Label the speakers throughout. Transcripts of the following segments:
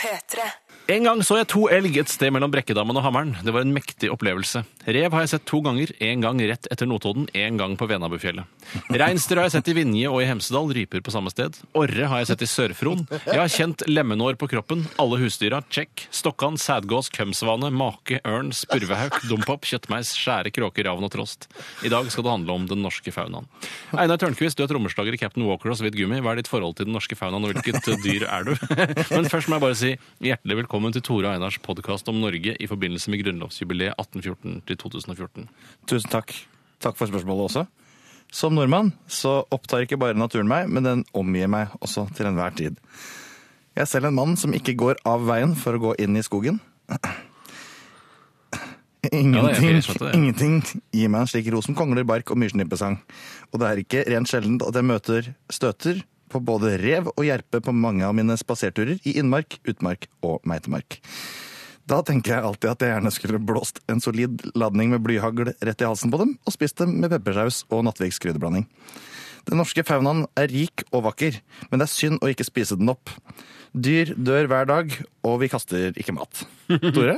Speaker 1: P3.
Speaker 2: En gang så jeg to elg et sted mellom Brekkedammen og Hammeren. Det var en mektig opplevelse. Rev har jeg sett to ganger, en gang rett etter Notodden, en gang på Venabufjellet. Reinsdyr har jeg sett i Vinje og i Hemsedal, ryper på samme sted. Orre har jeg sett i Sør-Fron. Jeg har kjent lemenår på kroppen, alle husdyra, tsjekk, stokkan, sædgås, kømsvane, make, ørn, spurvehauk, dompop, kjøttmeis, skjære, kråke, ravn og trost. I dag skal det handle om den norske faunaen. Einar Tørnquist, du er trommeslager i Captain Walker og så vidt gummi. Hva er ditt forhold til den norske faunaen, og hvilket dyr er du? Men først må jeg bare si hjertelig velkommen til Tore og Einars podkast om Norge i forbindelse med grunnlovsjubileet 1814 til 2014.
Speaker 3: Tusen takk. Takk for spørsmålet også. Som nordmann så opptar ikke bare naturen meg, men den omgir meg også til enhver tid. Jeg er selv en mann som ikke går av veien for å gå inn i skogen. Ingenting,
Speaker 2: jeg skjønte det.
Speaker 3: ingenting gir meg en slik ro som kongler, bark og myrsnippesang. Og det er ikke rent sjeldent at jeg møter støter på både rev og gjerpe på mange av mine spaserturer i innmark, utmark og meitemark. Da tenker jeg alltid at jeg gjerne skulle blåst en solid ladning med blyhagl rett i halsen på dem, og spist dem med peppersaus og Nattviks krydderblanding. Den norske faunaen er rik og vakker, men det er synd å ikke spise den opp. Dyr dør hver dag, og vi kaster ikke mat. Tore,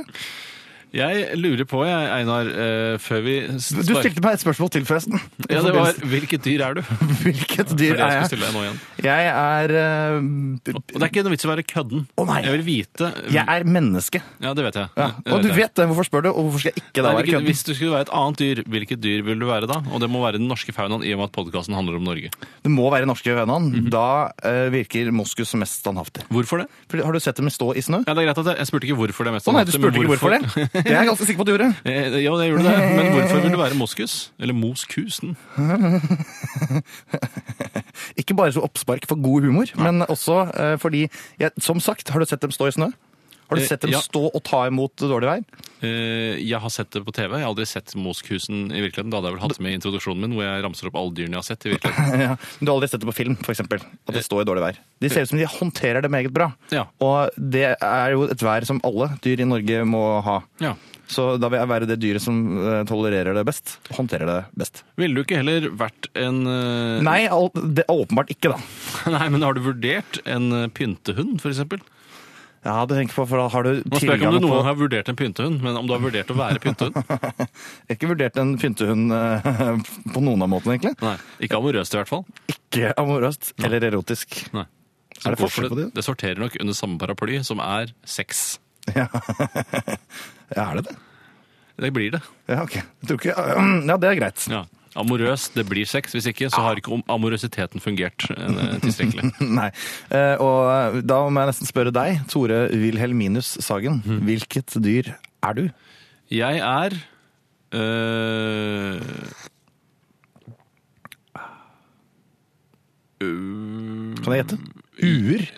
Speaker 2: Jeg lurer på, jeg, Einar, eh, før vi
Speaker 3: du stilte meg et spørsmål til, forresten.
Speaker 2: Ja, det var Hvilket dyr er du? Fordi
Speaker 3: Hvilket
Speaker 2: jeg
Speaker 3: dyr er
Speaker 2: skulle
Speaker 3: jeg?
Speaker 2: stille deg nå igjen.
Speaker 3: Jeg er eh,
Speaker 2: Og det er ikke noe vits i å være kødden.
Speaker 3: Å, nei.
Speaker 2: Jeg vil vite
Speaker 3: Jeg er menneske.
Speaker 2: Ja, det vet jeg.
Speaker 3: Ja.
Speaker 2: Det
Speaker 3: Og du
Speaker 2: jeg.
Speaker 3: vet det. Hvorfor spør du, og hvorfor skal jeg ikke da
Speaker 2: Nei,
Speaker 3: være
Speaker 2: hvilket-
Speaker 3: kødden?
Speaker 2: hvis du skulle være et annet dyr, hvilket dyr ville du være da? Og det må være den norske faunaen i og med at podkasten handler om Norge.
Speaker 3: Det må være norske hønan.
Speaker 2: Mhm.
Speaker 3: Da eh, virker moskus mest standhaftig.
Speaker 2: Hvorfor det?
Speaker 3: For Har du sett dem stå i snø?
Speaker 2: Ja, det er greit at Jeg, jeg spurte ikke hvorfor det mest.
Speaker 3: Å nei, du
Speaker 2: men
Speaker 3: spurte ikke hvorfor det. Det er jeg ganske sikker på at du gjorde.
Speaker 2: Eh, Ja, det gjorde det. Men hvorfor vil du være moskus? Eller moskusen?
Speaker 3: Ikke bare som oppspark for god humor, men også eh, fordi jeg, Som sagt, har du sett dem stå i snø? Har du
Speaker 2: Eh,
Speaker 3: sett dem
Speaker 2: ja.
Speaker 3: stå og ta imot dårlig vær?
Speaker 2: Eh, Jeg har sett det på TV. Jeg har aldri sett Moskusen i virkeligheten. Da hadde jeg vel hatt med i introduksjonen min, hvor jeg ramser opp alle dyrene jeg har sett. i virkeligheten.
Speaker 3: ja. Men Du har aldri sett det på film, f.eks. At de står i dårlig vær. De ser ut som de håndterer det meget bra.
Speaker 2: Ja.
Speaker 3: Og det er jo et vær som alle dyr i Norge må ha.
Speaker 2: Ja.
Speaker 3: Så da vil jeg være det dyret som eh, tolererer det best. Håndterer det best.
Speaker 2: Ville du ikke heller vært en eh,
Speaker 3: Nei, al- det er åpenbart ikke, da.
Speaker 2: Nei, men har du vurdert en eh, pyntehund, f.eks.? Nå
Speaker 3: Ja, du tenker på, for da har du
Speaker 2: spør jeg ikke
Speaker 3: tilgang
Speaker 2: om du
Speaker 3: på
Speaker 2: noen gang har vurdert en pyntehund, men om du har vurdert å være pyntehund.
Speaker 3: Jeg har ikke vurdert en pyntehund eh, på noen av måtene, egentlig.
Speaker 2: Nei, Ikke amorøst, i hvert fall.
Speaker 3: Ikke amorøst eller erotisk.
Speaker 2: Nei.
Speaker 3: Er det forskjell på de?
Speaker 2: Det sorterer nok under samme paraply, som er sex.
Speaker 3: Ja. ja, er det det?
Speaker 2: Det blir det.
Speaker 3: Ja, ok. Jeg tror ikke, ja, det er greit.
Speaker 2: Ja. Amorøst, det blir sex. Hvis ikke, så har ikke om- amorøsiteten fungert eh, tilstrekkelig.
Speaker 3: Nei. Eh, og da må jeg nesten spørre deg, Tore Wilhelminus Sagen.
Speaker 2: Mhm.
Speaker 3: Hvilket dyr er du?
Speaker 2: Jeg er eh, øh, øh,
Speaker 3: Kan jeg gjette? Uer?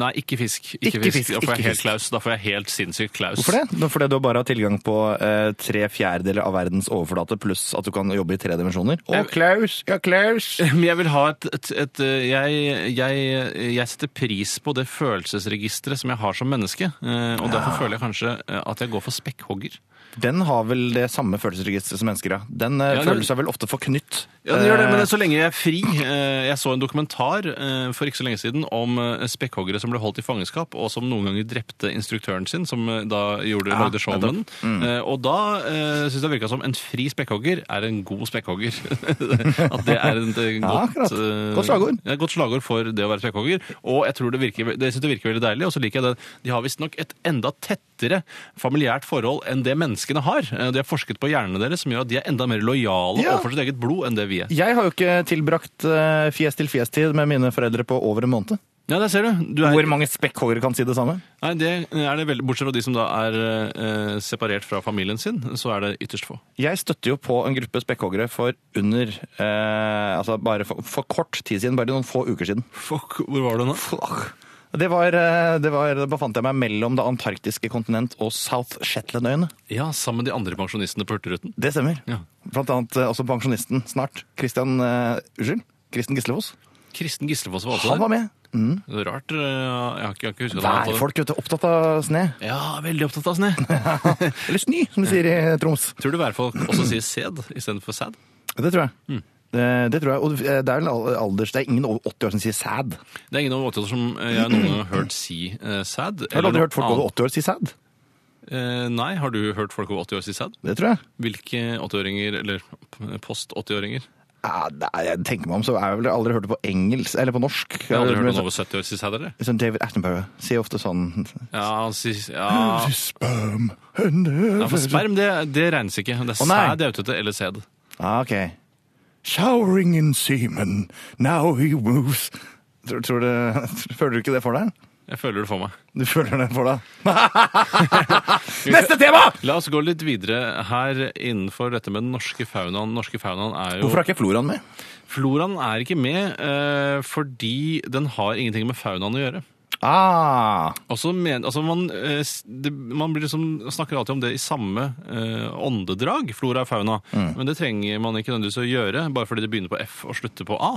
Speaker 2: Nei, ikke fisk. Ikke,
Speaker 3: Ikke
Speaker 2: fisk.
Speaker 3: fisk,
Speaker 2: Da får jeg
Speaker 3: ikke
Speaker 2: helt
Speaker 3: fisk.
Speaker 2: klaus. Da får jeg helt sinnssykt klaus.
Speaker 3: Hvorfor det? Nå Fordi du bare har tilgang på eh, tre fjerdedeler av verdens overflate, pluss at du kan jobbe i tre dimensjoner. Å, Klaus! Ja, Klaus!
Speaker 2: Men jeg vil ha et, et, et øh, jeg, jeg, jeg setter pris på det følelsesregisteret som jeg har som menneske. øh, Og derfor føler jeg kanskje øh, at jeg går for spekkhogger.
Speaker 3: Den har vel det samme følelsesregisteret som mennesker, ja. Den eh,
Speaker 2: Ja, den-
Speaker 3: føler seg vel ofte forknytt.
Speaker 2: Ja, den gjør det,
Speaker 3: Eh,
Speaker 2: men så lenge jeg er fri. Eh, Jeg så en dokumentar eh, for ikke så lenge siden om eh, spekkhoggere som ble holdt i fangenskap, og som noen ganger drepte instruktøren sin, som eh, da gjorde, lagde show med den.
Speaker 3: Mm.
Speaker 2: Eh, Og da eh, syns jeg det virka som en fri spekkhogger er en god spekkhogger. At det er et eh,
Speaker 3: Ja,
Speaker 2: godt,
Speaker 3: akkurat.
Speaker 2: eh,
Speaker 3: Godt slagord.
Speaker 2: ja, godt slagord for det å være spekkhogger. Og jeg tror det virker, det synes det virker veldig deilig, og så liker jeg det. De har visstnok et enda tettere familiært forhold enn det menneskene har. Eh, De har forsket på hjernene deres, som gjør at de er enda mer lojale
Speaker 3: Ja.
Speaker 2: overfor sitt eget blod enn det vi er.
Speaker 3: Jeg har jo ikke tilbrakt eh, fjes til fjes-tid med mine foreldre på over en måned.
Speaker 2: Ja, der ser du. du er,
Speaker 3: Hvor mange spekkhoggere kan si det samme?
Speaker 2: nei, det er det veldig, bortsett fra de som da er eh, separert fra familien sin, så er det ytterst få.
Speaker 3: Jeg støtter jo på en gruppe spekkhoggere for under eh, Altså bare for, for kort tid siden, bare noen få uker siden.
Speaker 2: Fuck, hvor var du nå?
Speaker 3: Det var, eh, det var Da befant jeg meg mellom det antarktiske kontinent og South Shetland-øyene.
Speaker 2: Ja, sammen med de andre pensjonistene på Hurtigruten.
Speaker 3: Det stemmer.
Speaker 2: Ja.
Speaker 3: Blant annet eh, også pensjonisten snart. Christian eh, Unnskyld? Kristen Gislevoss.
Speaker 2: Kristen Gislefoss var også
Speaker 3: Han var
Speaker 2: der.
Speaker 3: med. Mm.
Speaker 2: Det er Rart. eh, Jeg har ikke, jeg har ikke husket at han var på det.
Speaker 3: Værfolk, vet du. Opptatt av sne.
Speaker 2: Ja, veldig opptatt av sne.
Speaker 3: Eller snø, som de sier i eh, Troms.
Speaker 2: Tror du værfolk også sier sæd istedenfor sæd? Mm.
Speaker 3: Det tror jeg. Eh, Det tror jeg. Og eh, det er vel al- alders... Det er ingen over 80 år som sier sæd.
Speaker 2: Det er ingen over 80 år som eh, jeg noen gang har hørt si eh, sad.
Speaker 3: Jeg har aldri hørt folk
Speaker 2: noe
Speaker 3: over 80 år si sæd.
Speaker 2: annet. Eh, nei, har du hørt folk over 80 år si sad?
Speaker 3: Det tror jeg.
Speaker 2: Hvilke 80-åringer, eller p- post 80-åringer?
Speaker 3: Ja, nei, jeg tenker meg om, så har jeg vel aldri hørt det på engelsk, eller på norsk.
Speaker 2: Jeg har aldri hørt
Speaker 3: Men
Speaker 2: noen
Speaker 3: så-
Speaker 2: over 70 år si sad, eller?
Speaker 3: Sånn David Attenborough sier ofte sånn
Speaker 2: Ja, han sier ja.
Speaker 3: Sperm
Speaker 2: ja, for sperm, det, det regnes ikke. Det er
Speaker 3: Å, nei.
Speaker 2: sæd jeg er ute etter, eller sæd.
Speaker 3: Ah, ok. Showering in semen, now he moves. Tror, tror du, føler du ikke det for deg?
Speaker 2: Jeg føler det for meg.
Speaker 3: Du føler det for deg? Neste tema!
Speaker 2: La oss gå litt videre her innenfor dette med den norske faunaen. Den norske faunaen er jo
Speaker 3: Hvorfor er ikke floraen med?
Speaker 2: Floraen er ikke med eh, fordi den har ingenting med faunaen å gjøre.
Speaker 3: Ah,
Speaker 2: Og så men, altså man, eh, s- det, man blir liksom, snakker alltid om det i samme eh, åndedrag, flora og fauna.
Speaker 3: Mm.
Speaker 2: Men det trenger man ikke nødvendigvis å gjøre, bare fordi det begynner på F og slutter på A.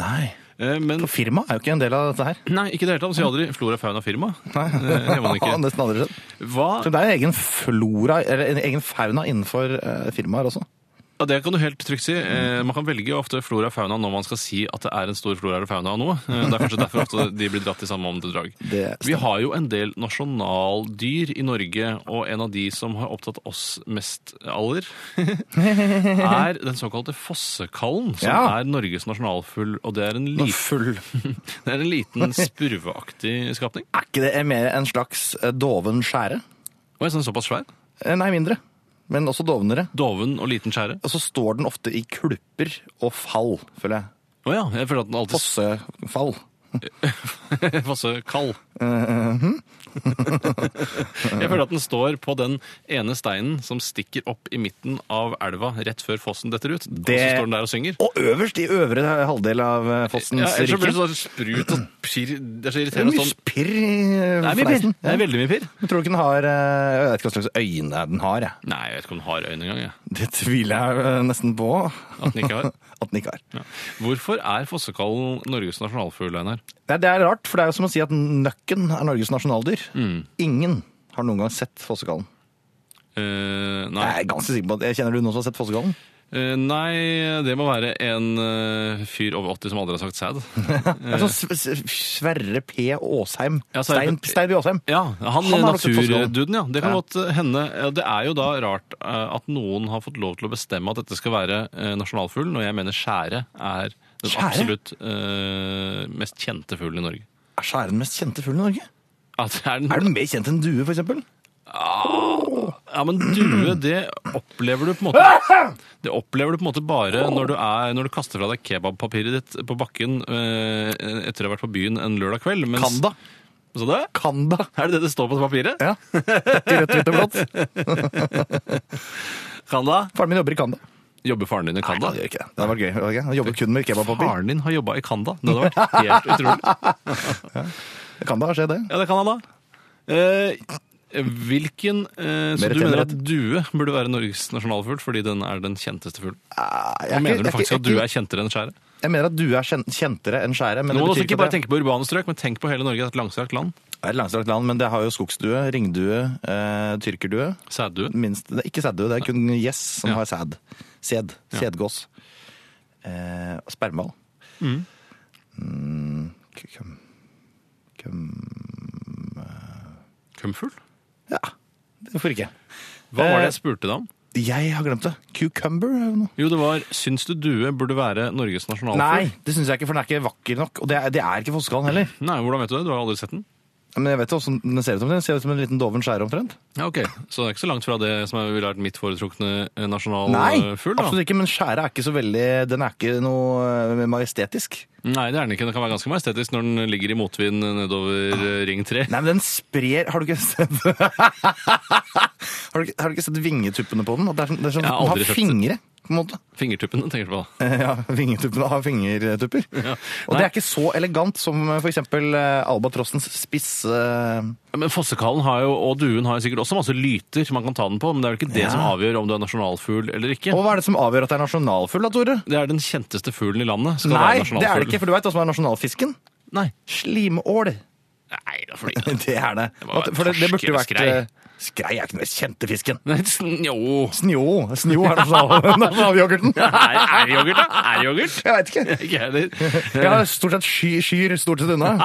Speaker 3: nei.
Speaker 2: Eh, men
Speaker 3: For firma er jo ikke en del av dette her.
Speaker 2: nei, ikke i det hele tatt. Man sier aldri flora, fauna, firma.
Speaker 3: Nei.
Speaker 2: Det gjør man ikke.
Speaker 3: Nesten aldri skjedd.
Speaker 2: Hva?
Speaker 3: Så det er egen flora, eller en egen fauna innenfor eh, firmaer også.
Speaker 2: Ja, det kan du helt trygt si. Eh, man kan velge ofte flora og fauna når man skal si at det er en stor flora eller fauna av noe. Eh, det er kanskje derfor ofte de blir dratt i samme åndedrag.
Speaker 3: Det stemmer.
Speaker 2: Vi har jo en del nasjonaldyr i Norge, og en av de som har opptatt oss mest aller, er den såkalte fossekallen, som
Speaker 3: Ja.
Speaker 2: er Norges nasjonalfugl. Og det er en
Speaker 3: Nå,
Speaker 2: liten,
Speaker 3: Full.
Speaker 2: det er en liten spurveaktig skapning.
Speaker 3: Er ikke det mer en slags eh, doven skjære?
Speaker 2: Og en sånn såpass svær.
Speaker 3: Eh, Nei, mindre. Men også dovnere.
Speaker 2: Doven og liten skjære.
Speaker 3: Og så står den ofte i klupper og fall, føler jeg.
Speaker 2: Å ja, jeg føler at den alltid
Speaker 3: Fossefall.
Speaker 2: Fossekall.
Speaker 3: Eh, hm?
Speaker 2: jeg føler at den står på den ene steinen som stikker opp i midten av elva rett før fossen detter ut. Og så
Speaker 3: Det-
Speaker 2: står den der og synger.
Speaker 3: Og øverst i øvre halvdel av eh,
Speaker 2: Ja,
Speaker 3: fossens
Speaker 2: ellers så blir
Speaker 3: rike.
Speaker 2: det sånn sprut og pirr. Det er så
Speaker 3: Det er
Speaker 2: irriterende.
Speaker 3: mye
Speaker 2: Sånn.
Speaker 3: spirr i
Speaker 2: Det er mye pirr.
Speaker 3: fleisen.
Speaker 2: Det er
Speaker 3: Ja.
Speaker 2: veldig mye pirr.
Speaker 3: Jeg tror ikke den har eh, Jeg vet ikke hva slags øyne den har, jeg.
Speaker 2: Nei, jeg vet ikke om den har øyne engang. jeg.
Speaker 3: Det tviler jeg eh, nesten på
Speaker 2: At den ikke har.
Speaker 3: at den ikke har.
Speaker 2: Ja. Hvorfor er fossekallen Norges nasjonalfugl, Einar?
Speaker 3: Det er, det er rart, for det er jo som å si at nøkken er Norges nasjonaldyr. Ingen har noen gang sett fossekallen.
Speaker 2: Eh, nei.
Speaker 3: Jeg er ganske sikker på at, Kjenner du noen som har sett fossekallen?
Speaker 2: Eh, nei, det må være en eh, fyr over 80 som aldri har sagt sæd.
Speaker 3: Det er sånn Sve- Sve- Sverre P. Åsheim.
Speaker 2: Ja, Sverre
Speaker 3: Stein, Stein B. Åsheim.
Speaker 2: Ja, han,
Speaker 3: Han har også fått
Speaker 2: naturduden, ja. Det kan
Speaker 3: Ja.
Speaker 2: godt eh, hende. Ja, Det er jo da rart eh, at noen har fått lov til å bestemme at dette skal være eh, nasjonalfugl, når jeg mener skjære er den
Speaker 3: Skjære?
Speaker 2: absolutt eh, mest kjente fuglen i Norge.
Speaker 3: Er skjære den mest kjente fuglen i Norge?
Speaker 2: At det er den, Ah!
Speaker 3: Er den mer kjent enn due, for eksempel?
Speaker 2: ja, men due, det opplever du på en måte Det opplever du på en måte bare når du, er, når du kaster fra deg kebabpapiret ditt på bakken eh, etter å ha vært på byen en lørdag kveld. mens-
Speaker 3: Kanda.
Speaker 2: Så det?
Speaker 3: Kanda.
Speaker 2: Er det det det står på papiret?
Speaker 3: Ja. Rødt, hvitt og blått.
Speaker 2: Kanda?
Speaker 3: Faren min jobber i Kanda.
Speaker 2: Jobber faren din i Kanda?
Speaker 3: Nei, han gjør ikke det. Det hadde vært gøy. hadde det ikke? Han jobber kun med kebabpapir.
Speaker 2: Faren din har jobba i Kanda. Det hadde vært helt utrolig.
Speaker 3: Kanda, skjer det?
Speaker 2: Ja, det kan han da. Eh, hvilken eh, Så
Speaker 3: Mer
Speaker 2: du mener
Speaker 3: tenner
Speaker 2: at due burde være Norges nasjonalfugl fordi den er den kjenteste fuglen?
Speaker 3: Jeg,
Speaker 2: Og
Speaker 3: er
Speaker 2: mener
Speaker 3: ikke-
Speaker 2: du
Speaker 3: jeg
Speaker 2: faktisk
Speaker 3: ikke-
Speaker 2: at due er kjentere enn skjæret?
Speaker 3: Jeg mener at due er kjen- kjentere enn skjære. Men
Speaker 2: Nå må du
Speaker 3: det
Speaker 2: også
Speaker 3: betyr
Speaker 2: ikke bare
Speaker 3: at det
Speaker 2: tenke på urbane strøk, men tenk på hele Norge. Det er et langstrakt land.
Speaker 3: er et langstrakt land, men det har jo skogsdue, ringdue, eh, tyrkerdue.
Speaker 2: Sæddue.
Speaker 3: Minst, det er ikke sæddue, det er kun gjess som
Speaker 2: Ja.
Speaker 3: har sæd. Sæd. Sædgås. Eh, og spermhval. Mm. k- Køm Køm
Speaker 2: Kumfugl?
Speaker 3: Ja, hvorfor ikke?
Speaker 2: Hva var det
Speaker 3: Eh,
Speaker 2: jeg spurte deg om?
Speaker 3: Jeg har glemt det. Cucumber? er det noe?
Speaker 2: Jo, det var Syns du due burde være Norges
Speaker 3: Nei,
Speaker 2: nasjonalfugl?
Speaker 3: det syns jeg ikke, for den er ikke vakker nok. Og det er, det er ikke fossekallen heller.
Speaker 2: Nei, Hvordan vet du det? Du har aldri sett den?
Speaker 3: Men jeg vet jo hvordan den ser ut som. Den ser ut som en liten doven skjære omtrent.
Speaker 2: Ja, ok. Så det er ikke så langt fra det som er- ville vært mitt foretrukne eh, nasjonalfugl? da?
Speaker 3: absolutt ikke. Men skjære er ikke så veldig Den er ikke noe eh, majestetisk.
Speaker 2: Nei, det er den ikke. Den kan være ganske majestetisk når den ligger i motvind nedover eh, ring 3.
Speaker 3: Nei, men den sprer Har du ikke sett har, du ikke, har du ikke sett vingetuppene på den? At Det er, sånn- det er sånn,
Speaker 2: Jeg har aldri
Speaker 3: den har
Speaker 2: sett det.
Speaker 3: fingre, på en måte.
Speaker 2: Fingertuppene, tenker du på da.
Speaker 3: Ja, vingetuppene har fingertupper. Og det
Speaker 2: Nei.
Speaker 3: er ikke så elegant som eh, for eksempel eh, albatrossens spisse eh,
Speaker 2: Men fossekallen har jo, og duen har jo sikkert også masse lyter som man kan ta den på, men det er vel ikke det som avgjør om du er nasjonalfugl eller ikke.
Speaker 3: Og hva er det som avgjør at det er nasjonalfugl, da, Tore?
Speaker 2: Det er den kjenteste fuglen i landet. Skal være
Speaker 3: Nei, det er det
Speaker 2: nasjonalfugl.
Speaker 3: ikke, for du veit hva som er nasjonalfisken?
Speaker 2: Nei.
Speaker 3: Slimål.
Speaker 2: Nei, det er fordi
Speaker 3: Det er det.
Speaker 2: Det må være
Speaker 3: For det, det burde
Speaker 2: torskeskrei.
Speaker 3: vært eh, Skrei er ikke den mest kjente fisken.
Speaker 2: Nei, sn- Jo.
Speaker 3: Snjå. Snjå er det navneyoghurten.
Speaker 2: Er er det yoghurt, da? Er det yoghurt?
Speaker 3: Jeg veit ikke.
Speaker 2: Ikke jeg heller.
Speaker 3: Jeg har stort sett sky, skyr stort sett unna.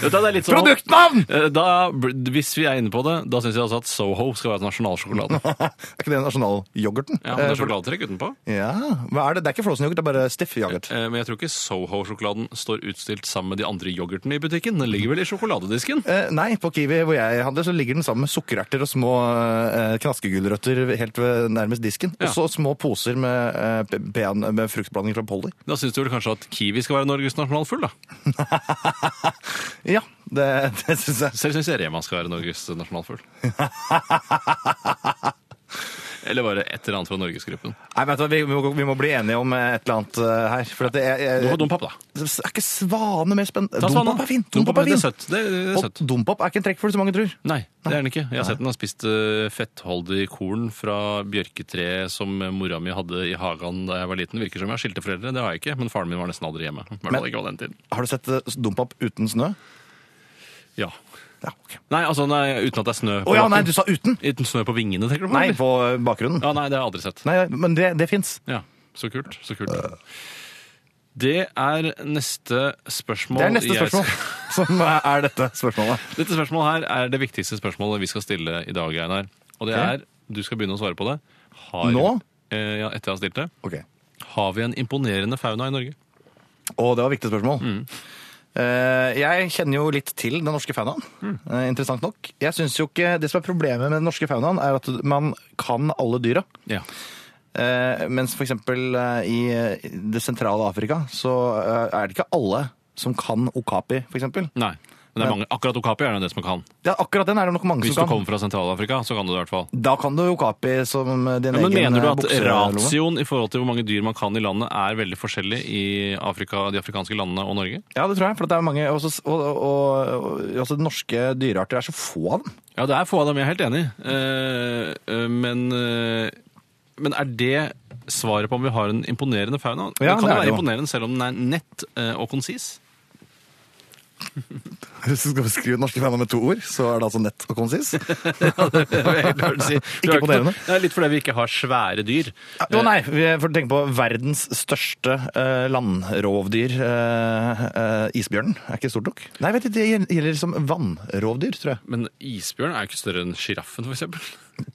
Speaker 2: Vet du, det er litt sånn
Speaker 3: Produktnavn!
Speaker 2: Eh, Da, bl- hvis vi er inne på det, da syns jeg altså at Soho skal være nasjonalsjokolade.
Speaker 3: Er ikke det nasjonalyoghurten?
Speaker 2: Ja, men det
Speaker 3: Eh,
Speaker 2: er sjokoladetrekk utenpå.
Speaker 3: ja. Hva er det? det er ikke frossenyoghurt, det er bare stiff yoghurt.
Speaker 2: Eh, Men jeg tror ikke Soho-sjokoladen står utstilt sammen med de andre yoghurtene i butikken. Den ligger vel i sjokoladedisken.
Speaker 3: Eh, nei, på Kiwi hvor jeg handler, så ligger den sammen med sukkererter og små eh, knaskegulrøtter helt ved nærmest disken.
Speaker 2: Ja.
Speaker 3: Og så små poser med, eh, pe- pean- med fruktblanding fra Polly.
Speaker 2: Da syns du vel kanskje at kiwi skal være Norges nasjonalfugl, da?
Speaker 3: Ja, det, det syns jeg.
Speaker 2: Selv syns jeg Rema skal være Norges nasjonalfugl. Eller bare et eller annet fra Norgesgruppen.
Speaker 3: Nei, vet du, hva, vi, vi, må, vi må bli enige om eh, et eller annet eh, her. For at det er,
Speaker 2: Du
Speaker 3: jeg,
Speaker 2: har dompap, da.
Speaker 3: er ikke svane mer spennende?
Speaker 2: Ta svanen,
Speaker 3: Dompap
Speaker 2: da.
Speaker 3: er fin!
Speaker 2: Dompap
Speaker 3: Dompap er
Speaker 2: det
Speaker 3: fin.
Speaker 2: er søtt. Det det er
Speaker 3: Og
Speaker 2: søtt.
Speaker 3: dompap er ikke en trekkfugl, som mange tror.
Speaker 2: Nei, det er den ikke. Jeg har sett den har spist eh, fettholdig korn fra bjørketreet som mora mi hadde i hagen da jeg var liten. Virker som jeg har skilte foreldre, det har jeg ikke. Men faren min var nesten aldri hjemme. I hvert fall ikke på den tiden.
Speaker 3: Har du sett eh, dompap uten snø?
Speaker 2: Ja.
Speaker 3: Ja, ok.
Speaker 2: Nei, altså nei, uten at det er snø
Speaker 3: Å
Speaker 2: på
Speaker 3: ja, nei,
Speaker 2: bakken.
Speaker 3: du sa uten!
Speaker 2: Uten snø på vingene, tenker du på?
Speaker 3: Nei,
Speaker 2: eller?
Speaker 3: på eh, bakgrunnen.
Speaker 2: Ja, nei, det har jeg aldri sett.
Speaker 3: Nei, men det, det fins.
Speaker 2: Ja, Så kult. Så kult. Det er neste spørsmål.
Speaker 3: Det er neste
Speaker 2: jeg
Speaker 3: spørsmål som er dette spørsmålet.
Speaker 2: skal- Dette spørsmålet her er det viktigste spørsmålet vi skal stille i dag, Einar. Og det
Speaker 3: Ok.
Speaker 2: er Du skal begynne å svare på det. Har,
Speaker 3: Nå?
Speaker 2: Eh, ja, etter jeg har stilt det.
Speaker 3: Ok.
Speaker 2: Har vi en imponerende fauna i Norge?
Speaker 3: Og det var et viktig spørsmål. Eh, jeg kjenner jo litt til den norske faunaen. Eh, interessant nok. Jeg synes jo ikke, Det som er problemet med den norske faunaen, er at man kan alle dyra.
Speaker 2: Ja.
Speaker 3: Eh, mens f.eks. Uh, i eh, det sentrale Afrika så eh, er det ikke alle som kan okapi, f.eks.
Speaker 2: Nei. Men det er mange, akkurat okapi er det det som kan.
Speaker 3: Ja, akkurat den er det nok mange
Speaker 2: Hvis du
Speaker 3: som kan.
Speaker 2: kommer fra Sentral-Afrika, så kan du det i hvert fall.
Speaker 3: Da kan du okapi som eh, din
Speaker 2: Men
Speaker 3: egen
Speaker 2: mener du
Speaker 3: eh,
Speaker 2: at
Speaker 3: bukselomme.
Speaker 2: ratioen i forhold til hvor mange dyr man kan i landet, er veldig forskjellig i Afrika, de afrikanske landene og Norge?
Speaker 3: Ja, det tror jeg. For det er mange, og, så- og, og, og, altså, norske dyrearter er så få av dem.
Speaker 2: Ja, det er få av dem, jeg er helt enig. Eh, eh, men, eh, men er det svaret på om vi har en imponerende fauna?
Speaker 3: Ja,
Speaker 2: det kan jo
Speaker 3: det er det
Speaker 2: være
Speaker 3: jo.
Speaker 2: imponerende selv om den er nett eh, og konsis.
Speaker 3: Hvis du skal beskrive den norske faunaen med to ord, så er det altså nett og konsis.
Speaker 2: Det vil jeg helt klart si. Vi har ikke
Speaker 3: imponerende.
Speaker 2: noe- Det er litt fordi vi ikke har svære dyr.
Speaker 3: Jo, nei, vi får tenke på verdens største eh, landrovdyr, eh, eh, isbjørnen. Er ikke stort nok? Nei, vet du, det gjelder som vannrovdyr, tror jeg.
Speaker 2: Men isbjørn er jo ikke større enn sjiraffen, for eksempel.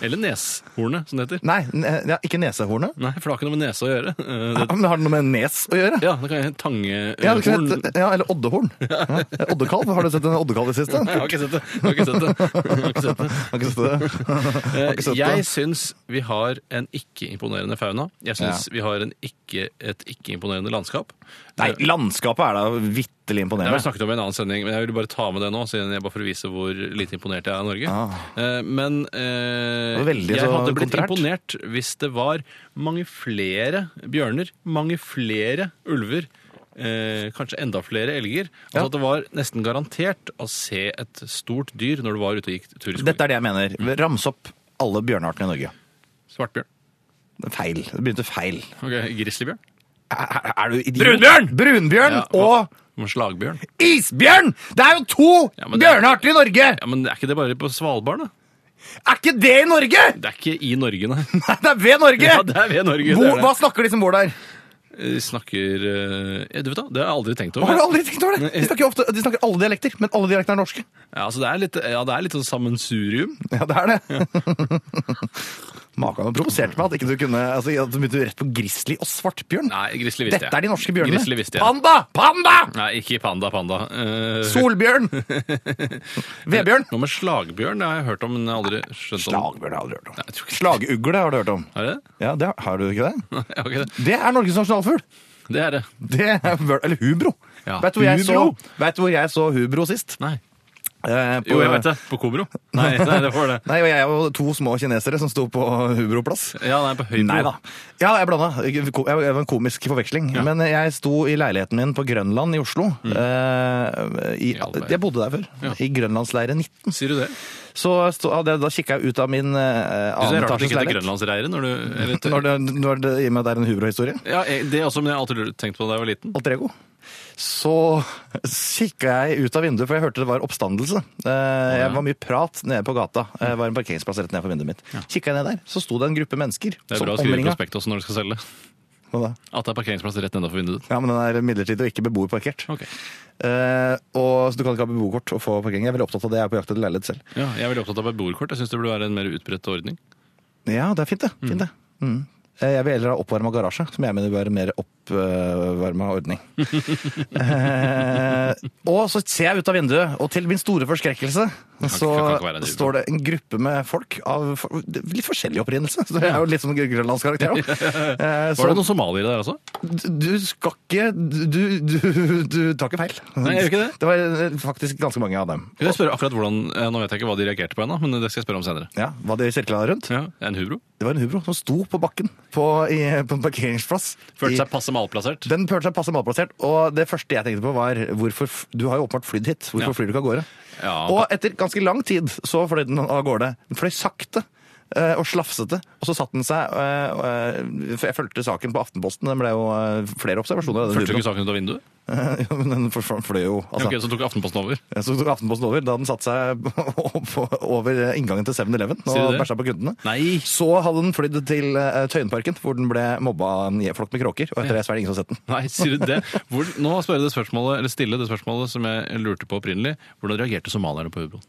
Speaker 2: Eller neshornet, som det heter.
Speaker 3: Nei, ne- ja, ikke nesehornet.
Speaker 2: Nei, for det har ikke noe med nese å gjøre. Eh,
Speaker 3: Ja,
Speaker 2: Det,
Speaker 3: men har det noe med nes å gjøre?
Speaker 2: ja, det kan hete tangehorn.
Speaker 3: Ja, det kunne hett- ja eller oddehorn. Ja. Oddekalv. Har du sett en oddekalv i det siste?
Speaker 2: Nei, Jeg har ikke sett det. Jeg har ikke sett det. Jeg har ikke sett det.
Speaker 3: Har ikke sett det.
Speaker 2: Eh,
Speaker 3: ikke sett det.
Speaker 2: Jeg syns vi har en ikke-imponerende fauna. Jeg syns vi har en ikke, et ikke-imponerende landskap.
Speaker 3: Nei,
Speaker 2: Eh,
Speaker 3: landskapet er da vitterlig
Speaker 2: Det har vi
Speaker 3: imponerende.
Speaker 2: snakket om i en annen sending, men jeg ville bare ta med det nå, siden jeg bare for å vise hvor lite imponert jeg er av Norge.
Speaker 3: Ah.
Speaker 2: Eh, Men eh,
Speaker 3: Det var veldig
Speaker 2: jeg
Speaker 3: så
Speaker 2: hadde blitt
Speaker 3: kontrært.
Speaker 2: imponert hvis det var mange flere bjørner, mange flere ulver, eh, kanskje enda flere elger. Altså
Speaker 3: Ja.
Speaker 2: at det var nesten garantert å se et stort dyr når du var ute og gikk tur i skogen.
Speaker 3: Dette er det jeg mener. Rams opp alle bjørneartene i Norge.
Speaker 2: Svartbjørn.
Speaker 3: Det er Feil. Det begynte feil.
Speaker 2: Okay, Grizzlybjørn.
Speaker 3: Er, er- er du idiot?
Speaker 2: Brunbjørn!
Speaker 3: Brunbjørn
Speaker 2: Ja,
Speaker 3: og
Speaker 2: Men Slagbjørn.
Speaker 3: isbjørn! Det er jo to
Speaker 2: Ja, men det-
Speaker 3: bjørnearter i Norge!
Speaker 2: Ja, Men er ikke det bare på Svalbard, da?
Speaker 3: Er ikke det i Norge?!
Speaker 2: Det er ikke i Norge, nei.
Speaker 3: Nei, det er ved Norge!
Speaker 2: Ja, det er ved Norge.
Speaker 3: Hvor,
Speaker 2: det er det.
Speaker 3: Hva snakker de som bor der?
Speaker 2: De snakker eh, ja, Du vet da, det har jeg aldri tenkt over.
Speaker 3: Har du aldri tenkt over det? De snakker, jo ofte, de snakker alle dialekter, men alle dialekter er norske.
Speaker 2: Ja, altså, det, er litt, ja, det er litt sånn sammensurium.
Speaker 3: Ja, det er det. Makan provoserte meg at ikke du kunne altså, at du begynte rett på grizzly og svartbjørn.
Speaker 2: Nei, grizzly visste jeg.
Speaker 3: Dette er de norske bjørnene.
Speaker 2: Grizzly visste jeg.
Speaker 3: Panda! Panda!
Speaker 2: Nei, ikke panda, panda. Eh,
Speaker 3: Solbjørn! Vedbjørn!
Speaker 2: Noe med slagbjørn, det har jeg hørt om, men jeg har aldri skjønt om.
Speaker 3: Slagbjørn har jeg aldri hørt om.
Speaker 2: jeg tror ikke-
Speaker 3: Slagugle har du hørt om.
Speaker 2: Er det det?
Speaker 3: Ja, det har- Har du ikke det?
Speaker 2: Nei, jeg har ikke det?
Speaker 3: Det er Norges nasjonalfugl.
Speaker 2: Det er det.
Speaker 3: Det er, vel- eller hubro.
Speaker 2: Ja.
Speaker 3: Vet, du hvor jeg så,
Speaker 2: Hubro?
Speaker 3: vet du hvor jeg så hubro sist?
Speaker 2: Nei.
Speaker 3: Eh, på-
Speaker 2: Jo, jeg vet det. På Kobro. Nei, nei det var det.
Speaker 3: Nei, og jeg og to små kinesere som sto på Hubro-plass.
Speaker 2: Ja, nei, på Høybro.
Speaker 3: Nei da. Ja, jeg blanda. Jeg var en komisk forveksling. Men jeg sto i leiligheten min på Grønland i Oslo. Eh, i,
Speaker 2: Mm. I all verden.
Speaker 3: jeg bodde der før.
Speaker 2: Ja.
Speaker 3: I Grønlandsleire 19.
Speaker 2: Sier du det?
Speaker 3: Så stå, hadde jeg- da kikka jeg ut av min
Speaker 2: Du
Speaker 3: eh, annen
Speaker 2: ser rart at det
Speaker 3: etasjes
Speaker 2: ikke heter
Speaker 3: leilighet.
Speaker 2: grønlandsreiret når du eller,
Speaker 3: Når det, når det, I og med at det er en Hubro-historie.
Speaker 2: eh, Ja, jeg- det er også, men jeg har alltid lurt- tenkt på det da jeg var liten.
Speaker 3: Alter ego. så kikka jeg ut av vinduet, for jeg hørte det var oppstandelse. Eh, Jeg var mye prat nede på gata. Eh, Det var en parkeringsplass rett nede for vinduet mitt. Kikka jeg ned der, så sto det en gruppe mennesker.
Speaker 2: Det er
Speaker 3: som
Speaker 2: bra å skrive i
Speaker 3: omringet-
Speaker 2: prospekt også når du skal selge.
Speaker 3: Hva da?
Speaker 2: At det er parkeringsplass rett nedenfor vinduet ditt.
Speaker 3: Ja, men den er midlertidig og ikke beboerparkert.
Speaker 2: Ok.
Speaker 3: Eh, og, så du kan ikke ha beboerkort og få parkering. Jeg er veldig opptatt av det. Jeg er på jakt etter leilighet selv.
Speaker 2: Ja, jeg er veldig opptatt av beboerkort. Jeg syns det burde være en mer utbredt ordning.
Speaker 3: Ja, det er fint, det. Fint, det. Mm. Eh, Jeg vil heller ha oppvarma garasje, som jeg mener bør være en mer oppvarma ordning. eh, og så ser jeg ut av vinduet, og til min store forskrekkelse så
Speaker 2: kan ikke være en gruppe.
Speaker 3: står det en gruppe med folk av for- litt forskjellig opprinnelse. Så det er jo litt sånn grønlandskarakter òg. Eh,
Speaker 2: Var
Speaker 3: så
Speaker 2: det noen somaliere der også?
Speaker 3: du skal ikke Du, du, du, du tar ikke feil.
Speaker 2: Nei, jeg gjør ikke det.
Speaker 3: Det var eh, faktisk ganske mange av dem.
Speaker 2: Kan jeg spørre akkurat hvordan, eh, Nå vet jeg ikke hva de reagerte på ennå, men det skal jeg spørre om senere.
Speaker 3: Ja, Hva de sirkla rundt?
Speaker 2: Ja, En hubro?
Speaker 3: Det var en hubro som sto på bakken på, i, på en parkeringsplass.
Speaker 2: Følte
Speaker 3: i-
Speaker 2: seg passe malplassert?
Speaker 3: Den følte seg passe malplassert, og det første jeg tenkte på var hvorfor, Du har jo åpenbart flydd hit, hvorfor
Speaker 2: Ja.
Speaker 3: flyr du ikke av gårde?
Speaker 2: Ja.
Speaker 3: Og etter ganske lang tid så fløy den av gårde. Den fløy sakte. eh, Og slafsete. Og så satt den seg eh, og, eh, for Jeg fulgte saken på Aftenposten. Den ble jo eh, flere observasjoner. av den
Speaker 2: Følte du
Speaker 3: hubroen.
Speaker 2: ikke saken ut av vinduet?
Speaker 3: Ja, men den for- for- fløy jo. Altså,
Speaker 2: Ok, Så tok Aftenposten over.
Speaker 3: Så tok Aftenposten over da den satte seg opp- over inngangen til 7-Eleven
Speaker 2: Sier
Speaker 3: og
Speaker 2: du det?
Speaker 3: bæsja på kundene.
Speaker 2: Nei!
Speaker 3: Så hadde den flydd til eh, Tøyenparken, hvor den ble mobba av en flokk med kråker. Og etter det så er det ingen som har sett den.
Speaker 2: Nei, sier du det? Hvor, nå spør jeg det spørsmålet, eller stille det spørsmålet som jeg lurte på opprinnelig. Hvordan reagerte somalierne på hubroen?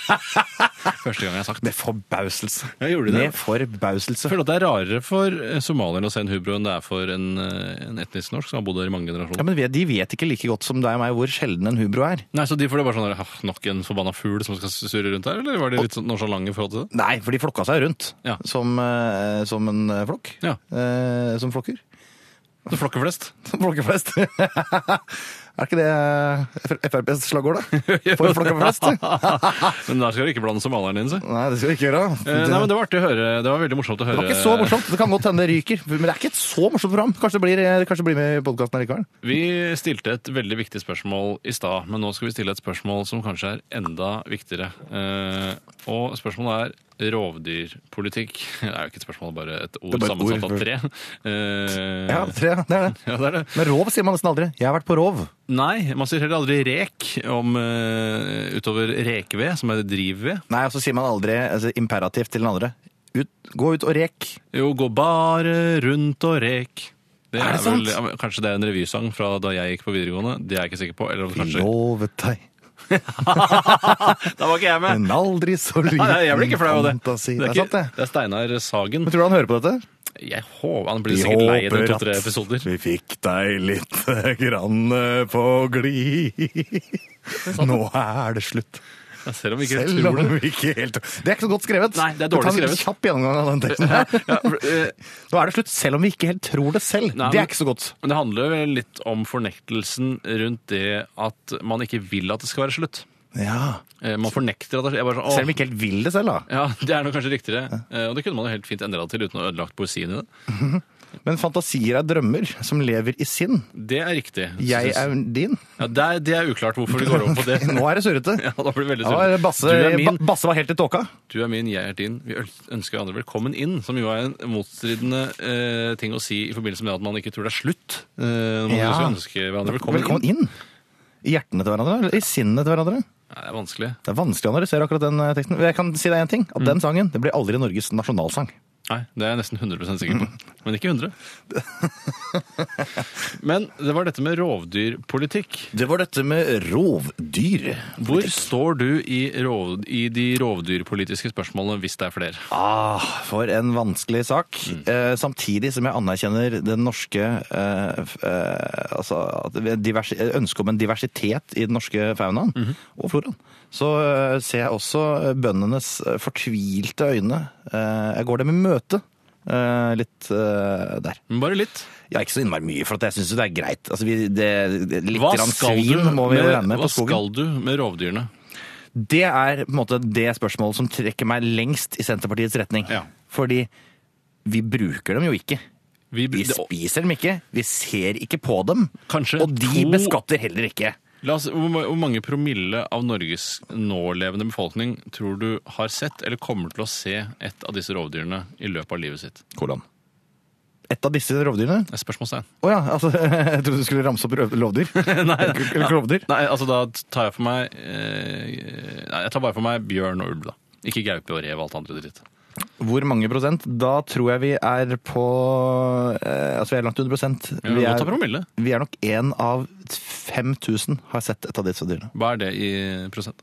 Speaker 2: Første gang jeg har sagt det.
Speaker 3: Med forbauselse.
Speaker 2: Ja, gjorde de det?
Speaker 3: Med forbauselse.
Speaker 2: Jeg føler at det er rarere for eh, somalierne å se en hubro enn det er for en, eh, en etnisk norsk som har bodd her i mange
Speaker 3: Ja,
Speaker 2: generasjoner.
Speaker 3: men vi- De vet ikke like godt som deg og meg hvor sjelden en hubro er.
Speaker 2: Nei, Så de får det bare sånn der, «Ah, nok en forbanna fugl som skal surre rundt her, eller var de litt sånn nonsjalante i forhold til det?
Speaker 3: Nei, for de flokka seg rundt
Speaker 2: Ja.
Speaker 3: som, eh, som en eh, flokk.
Speaker 2: Ja.
Speaker 3: Eh, som flokker.
Speaker 2: Det flokker flest.
Speaker 3: Som flokker flest. er ikke eh, det FrPs slagord, da? For flokka flest?
Speaker 2: Men der skal du ikke blande somalierne inn, si.
Speaker 3: Nei, det skal vi ikke gjøre. Det,
Speaker 2: Eh, Nei, men Det var artig å høre. Det var veldig morsomt å høre.
Speaker 3: det var ikke så morsomt. Det kan godt hende det ryker. Men det er ikke et så morsomt program. Kanskje det blir, eh, kanskje det blir med i podkasten likevel.
Speaker 2: Vi stilte et veldig viktig spørsmål i stad, men nå skal vi stille et spørsmål som kanskje er enda viktigere. Eh, og spørsmålet er rovdyrpolitikk. Det er jo ikke et spørsmål, bare et ord
Speaker 3: Det er bare et
Speaker 2: sammensatt
Speaker 3: ord.
Speaker 2: av tre. Eh,
Speaker 3: Ja, tre, det er det.
Speaker 2: ja, det er det.
Speaker 3: Men rov sier man nesten aldri. Jeg har vært på rov.
Speaker 2: Nei, man sier heller aldri rek om, eh, utover rekeved, som er drivved.
Speaker 3: Nei, og så sier man aldri altså, imperativt til den andre. Ut, gå ut og rek.
Speaker 2: Jo, gå bare rundt og rek. Det
Speaker 3: Er
Speaker 2: er,
Speaker 3: det sant?
Speaker 2: vel, ja, men kanskje det er en revysang fra da jeg gikk på videregående. Det er jeg ikke sikker på. Eller om det kanskje...
Speaker 3: Lovet deg
Speaker 2: Da var ikke jeg
Speaker 3: en aldri så liten
Speaker 2: Nei, nei, jeg blir ikke flau av det.
Speaker 3: fantasi.
Speaker 2: Det er,
Speaker 3: sant,
Speaker 2: ikke,
Speaker 3: det.
Speaker 2: det er Steinar Sagen.
Speaker 3: Men tror du han hører på dette?
Speaker 2: Jeg håper, Han blir sikkert lei etter to-tre episoder.
Speaker 3: vi fikk deg litt eh, grann på glid. Nå er det slutt.
Speaker 2: Ja, Selv om vi ikke
Speaker 3: Selv
Speaker 2: tror
Speaker 3: om
Speaker 2: det.
Speaker 3: vi ikke helt Det er ikke så godt skrevet.
Speaker 2: Nei, det er dårlig
Speaker 3: Vi tar en
Speaker 2: skrevet.
Speaker 3: Kjapp gjennomgang av den teksten her.
Speaker 2: Ja, for, eh,
Speaker 3: Nå er det slutt, selv om vi ikke helt tror det selv.
Speaker 2: Nei,
Speaker 3: det
Speaker 2: men-
Speaker 3: er ikke så godt.
Speaker 2: Men det handler vel litt om fornektelsen rundt det at man ikke vil at det skal være slutt.
Speaker 3: Ja.
Speaker 2: Eh, Man fornekter at det jeg bare sånn, «Åh,
Speaker 3: Selv om vi ikke helt vil det selv, da.
Speaker 2: ja, Det er nok kanskje riktigere. Eh, Og det kunne man jo helt fint endra til uten å ha ødelagt poesien i det.
Speaker 3: Men fantasier er drømmer som lever i sinn.
Speaker 2: Det er riktig.
Speaker 3: Jeg er din.
Speaker 2: ja, det, er, det er uklart hvorfor det går over på det.
Speaker 3: Nå er det surrete.
Speaker 2: Ja, da blir det veldig
Speaker 3: Ja, det
Speaker 2: surrete.
Speaker 3: var Basse,
Speaker 2: du er min,
Speaker 3: Ba- Basse var helt i tåka.
Speaker 2: Du er min, jeg er din. Vi ønsker hverandre velkommen inn, som jo er en motstridende eh, ting å si i forbindelse med at man ikke tror det er slutt. Eh, når man
Speaker 3: Ja.
Speaker 2: skal ønske hverandre velkommen,
Speaker 3: Velkommen
Speaker 2: inn.
Speaker 3: inn. I hjertene til hverandre, eller i sinnene til hverandre.
Speaker 2: Nei, det er vanskelig.
Speaker 3: Det er vanskelig å analysere akkurat den eh, teksten. Men Jeg kan si deg en ting,
Speaker 2: Mm.
Speaker 3: at den sangen det blir aldri Norges nasjonalsang.
Speaker 2: Nei, det er jeg nesten 100 sikker
Speaker 3: Mm.
Speaker 2: på. Men ikke 100. Men det var dette med rovdyrpolitikk.
Speaker 3: Det var dette med rovdyr.
Speaker 2: Hvor står du i, rov, i de rovdyrpolitiske spørsmålene, hvis det er flere?
Speaker 3: Ah, for en vanskelig sak.
Speaker 2: Mm.
Speaker 3: Eh, samtidig som jeg anerkjenner den norske eh, f- eh, altså, at vi- divers, eh, ønsket om en diversitet i den norske faunaen
Speaker 2: Mhm.
Speaker 3: og floraen. Så eh, ser jeg også bøndenes eh, fortvilte øyne. Eh, jeg går dem i møte eh, litt eh, der.
Speaker 2: Men bare litt.
Speaker 3: Ja, ikke så innmari mye, for at jeg syns jo det er greit. Altså, vi, det, det, litt
Speaker 2: Hva
Speaker 3: grann
Speaker 2: skal,
Speaker 3: svin
Speaker 2: du
Speaker 3: må vi jo regne
Speaker 2: med,
Speaker 3: med
Speaker 2: hva
Speaker 3: på skogen.
Speaker 2: skal du med rovdyrene?
Speaker 3: Det er på en måte det spørsmålet som trekker meg lengst i Senterpartiets retning.
Speaker 2: Ja.
Speaker 3: Fordi vi bruker dem jo ikke.
Speaker 2: Vi,
Speaker 3: Vi spiser dem ikke, vi ser ikke på dem.
Speaker 2: Kanskje
Speaker 3: Og de
Speaker 2: to-
Speaker 3: beskatter heller ikke.
Speaker 2: La oss, hvor ma- hvor mange promille av Norges nålevende befolkning tror du har sett eller kommer til å se et av disse rovdyrene i løpet av livet sitt?
Speaker 3: Hvordan? ett av disse rovdyrene?
Speaker 2: Det er Spørsmålstegn.
Speaker 3: Å ja, altså, jeg trodde du skulle ramse opp røv- lovdyr. Eller k- eller klovdyr.
Speaker 2: Nei, altså da tar jeg for meg eh, Nei, jeg tar bare for meg bjørn og ulv, da. Ikke gaupe og rev og alt andre dritt.
Speaker 3: Hvor mange prosent? Da tror jeg vi er på eh, Altså, vi er langt under prosent.
Speaker 2: Vi
Speaker 3: Vi
Speaker 2: må ta
Speaker 3: er,
Speaker 2: promille.
Speaker 3: vi er nok én av 5000 har sett et av disse dyrene.
Speaker 2: Hva er det i prosent?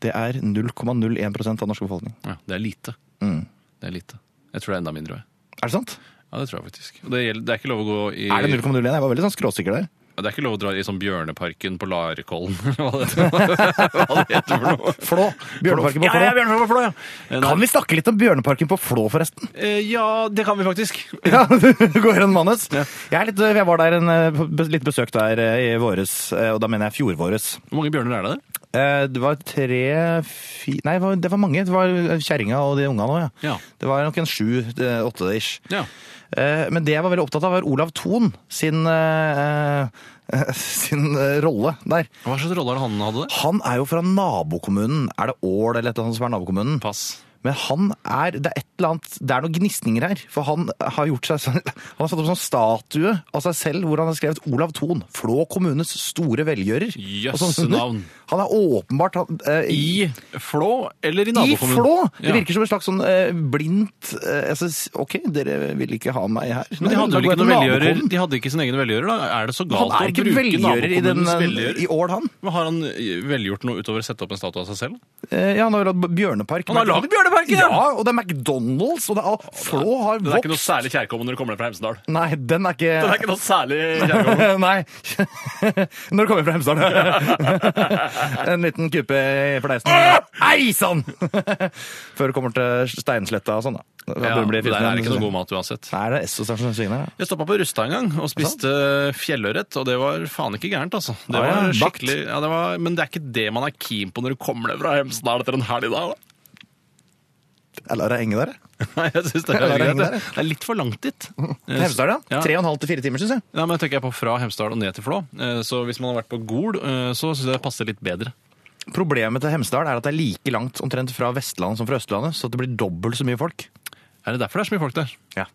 Speaker 3: Det er 0,01 av norsk befolkning.
Speaker 2: Ja, det er lite.
Speaker 3: Mm.
Speaker 2: Det er lite. Jeg tror det er enda mindre. jeg.
Speaker 3: Er det sant?
Speaker 2: Ja, det tror jeg faktisk. Og det, gjelder, det er ikke lov å gå i
Speaker 3: Er det 0,01? Jeg var veldig sånn skråsikker der.
Speaker 2: Ja, Det er ikke lov å dra i sånn Bjørneparken på Larkollen, eller hva det heter. hva det heter for noe.
Speaker 3: Flå! Bjørneparken på
Speaker 2: Ja, ja,
Speaker 3: Flå.
Speaker 2: Bjørneparken på Flå, ja. Eh,
Speaker 3: Kan
Speaker 2: nei.
Speaker 3: vi snakke litt om Bjørneparken på Flå, forresten?
Speaker 2: Eh, Ja, det kan vi faktisk.
Speaker 3: Ja, du går gjennom manus.
Speaker 2: Ja.
Speaker 3: Jeg, er litt, jeg var der en, eh, på bes- litt besøk der eh, i våres, eh, og da mener jeg fjorvåres.
Speaker 2: Hvor mange bjørner er det der?
Speaker 3: Eh, Det var tre fi, Nei, det var- det var mange. Det var kjerringa og de unga nå, ja.
Speaker 2: Ja.
Speaker 3: Det var nok en sju-åtte ish.
Speaker 2: Ja.
Speaker 3: Eh, Men det jeg var veldig opptatt av, var Olav Thon sin, eh, eh, sin eh, rolle der.
Speaker 2: Hva slags rolle er det han hadde der?
Speaker 3: Han er jo fra nabokommunen. Er det Ål eller et eller annet som er nabokommunen?
Speaker 2: Pass.
Speaker 3: Men han er, det er et eller annet, det er noen gnisninger her, for han har gjort seg sånn, han har satt opp en sånn statue av seg selv, hvor han har skrevet Olav Thon, Flå kommunes store velgjører.
Speaker 2: Jøsse
Speaker 3: Og sånn under.
Speaker 2: navn.
Speaker 3: Han er åpenbart, han, eh, i,
Speaker 2: I Flå eller i
Speaker 3: i
Speaker 2: nabokommunen?
Speaker 3: Flå! Det
Speaker 2: Ja.
Speaker 3: virker som en slags sånn eh, blindt, eh, jeg synes, ok, dere vil ikke ha meg her.
Speaker 2: Men de
Speaker 3: Nei,
Speaker 2: hadde
Speaker 3: da
Speaker 2: vel ikke
Speaker 3: går jeg til
Speaker 2: noen velgjører?
Speaker 3: nabokommunen.
Speaker 2: De hadde ikke sin egen velgjører, da? Er det så galt
Speaker 3: Han er
Speaker 2: å
Speaker 3: ikke
Speaker 2: bruke
Speaker 3: velgjører i, den,
Speaker 2: nabokommunens velgjører?
Speaker 3: i Ål, han.
Speaker 2: Men har han eh, velgjort noe utover å sette opp en statue av seg selv?
Speaker 3: Eh, ja, han har jo lagd Bjørnepark.
Speaker 2: Han har lagd Bjørnepark, ja!
Speaker 3: ja! og det er McDonalds, og det er, Flå har
Speaker 2: Det er ikke noe
Speaker 3: vokst.
Speaker 2: særlig kjærkommen når du kommer ned fra Hemsedal.
Speaker 3: Nei, den er ikke...
Speaker 2: Det er ikke noe særlig kjærkommen.
Speaker 3: Nei. Når det kommer fra Hemsedal. en liten kupe i fleisen.
Speaker 2: Ah!
Speaker 3: Ei sann! Før det kommer til Steinsletta og sånn, da. da.
Speaker 2: Ja,
Speaker 3: burde det bli
Speaker 2: det
Speaker 3: fysen.
Speaker 2: er ikke noe god mat uansett.
Speaker 3: Nei, det er Esso som svinger her.
Speaker 2: Jeg stoppa på Rusta en gang og spiste fjellørret, og det var faen ikke gærent, altså. Det
Speaker 3: Ah, ja,
Speaker 2: var
Speaker 3: bakt.
Speaker 2: skikkelig, ja, det var, men det er ikke det man er keen på når du kommer ned fra Hemsedal etter en helg, da.
Speaker 3: da. Jeg lar deg henge der, jeg.
Speaker 2: Nei, jeg synes det, er
Speaker 3: Ja, det er
Speaker 2: greit,
Speaker 3: ingen
Speaker 2: det. det er litt for langt dit.
Speaker 3: Til Hemsedal, ja.
Speaker 2: Ja.
Speaker 3: Tre og en halv til fire timer, syns jeg.
Speaker 2: Nei, men tenker jeg på Fra Hemsedal og ned til Flå. Eh, Så hvis man har vært på Gol, eh, så syns jeg det passer litt bedre.
Speaker 3: Problemet til Hemsedal er at det er like langt omtrent fra Vestlandet som fra Østlandet, så det blir dobbelt så mye folk.
Speaker 2: Er det derfor det er så mye folk der?
Speaker 3: Ja.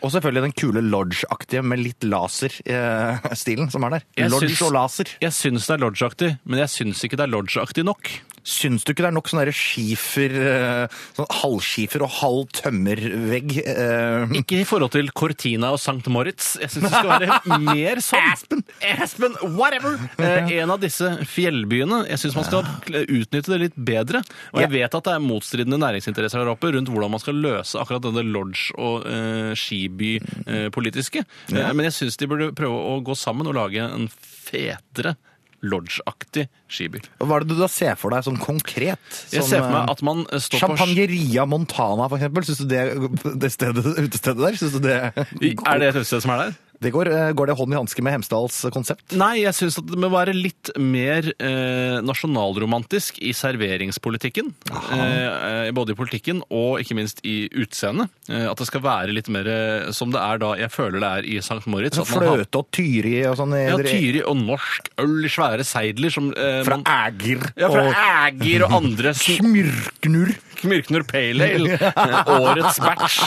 Speaker 3: Og selvfølgelig den kule lodge-aktige med litt laser-stilen som er der.
Speaker 2: Jeg
Speaker 3: Lodge
Speaker 2: syns-
Speaker 3: og laser.
Speaker 2: Jeg syns det er lodgeaktig, men jeg syns ikke det er lodgeaktig nok.
Speaker 3: Syns du ikke det er nok sånn derre skifer eh, Sånn halvskifer og halv tømmervegg? eh,
Speaker 2: Ikke i forhold til Cortina og Sankt Moritz. Jeg syns det skal være mer sånn. Aspen! Aspen, whatever! Eh, en av disse fjellbyene. Jeg syns man skal utnytte det litt bedre. Og jeg
Speaker 3: Ja.
Speaker 2: vet at det er motstridende næringsinteresser der oppe rundt hvordan man skal løse akkurat denne lodge- og eh, skiby-politiske. eh, men jeg syns de burde prøve å gå sammen og lage en fetere lodge-aktig skiby.
Speaker 3: Hva er det du da ser for deg sånn konkret?
Speaker 2: Jeg
Speaker 3: Sånn,
Speaker 2: ser for
Speaker 3: eh,
Speaker 2: meg at man eh, står på
Speaker 3: Champagneria Montana, for eksempel. Syns du det, det stedet, utestedet der Synes du det,
Speaker 2: Er det et utested som er der?
Speaker 3: det går, eh, går det hånd i hanske med Hemsedals konsept?
Speaker 2: Nei, jeg syns at det må være litt mer eh, nasjonalromantisk i serveringspolitikken. Eh, eh, både i politikken og ikke minst i utseendet. Eh, at det skal være litt mer eh, som det er da jeg føler det er i St. Moritz. At man har
Speaker 3: Fløte og tyri og sånn? i-
Speaker 2: ja, Tyri og norsk øl i svære seidler som eh,
Speaker 3: Fra
Speaker 2: man-
Speaker 3: Æger
Speaker 2: ja, fra
Speaker 3: og
Speaker 2: Ægir og andre sn-
Speaker 3: Smyrknur.
Speaker 2: Myrknur Pale Ale, eh, årets batch,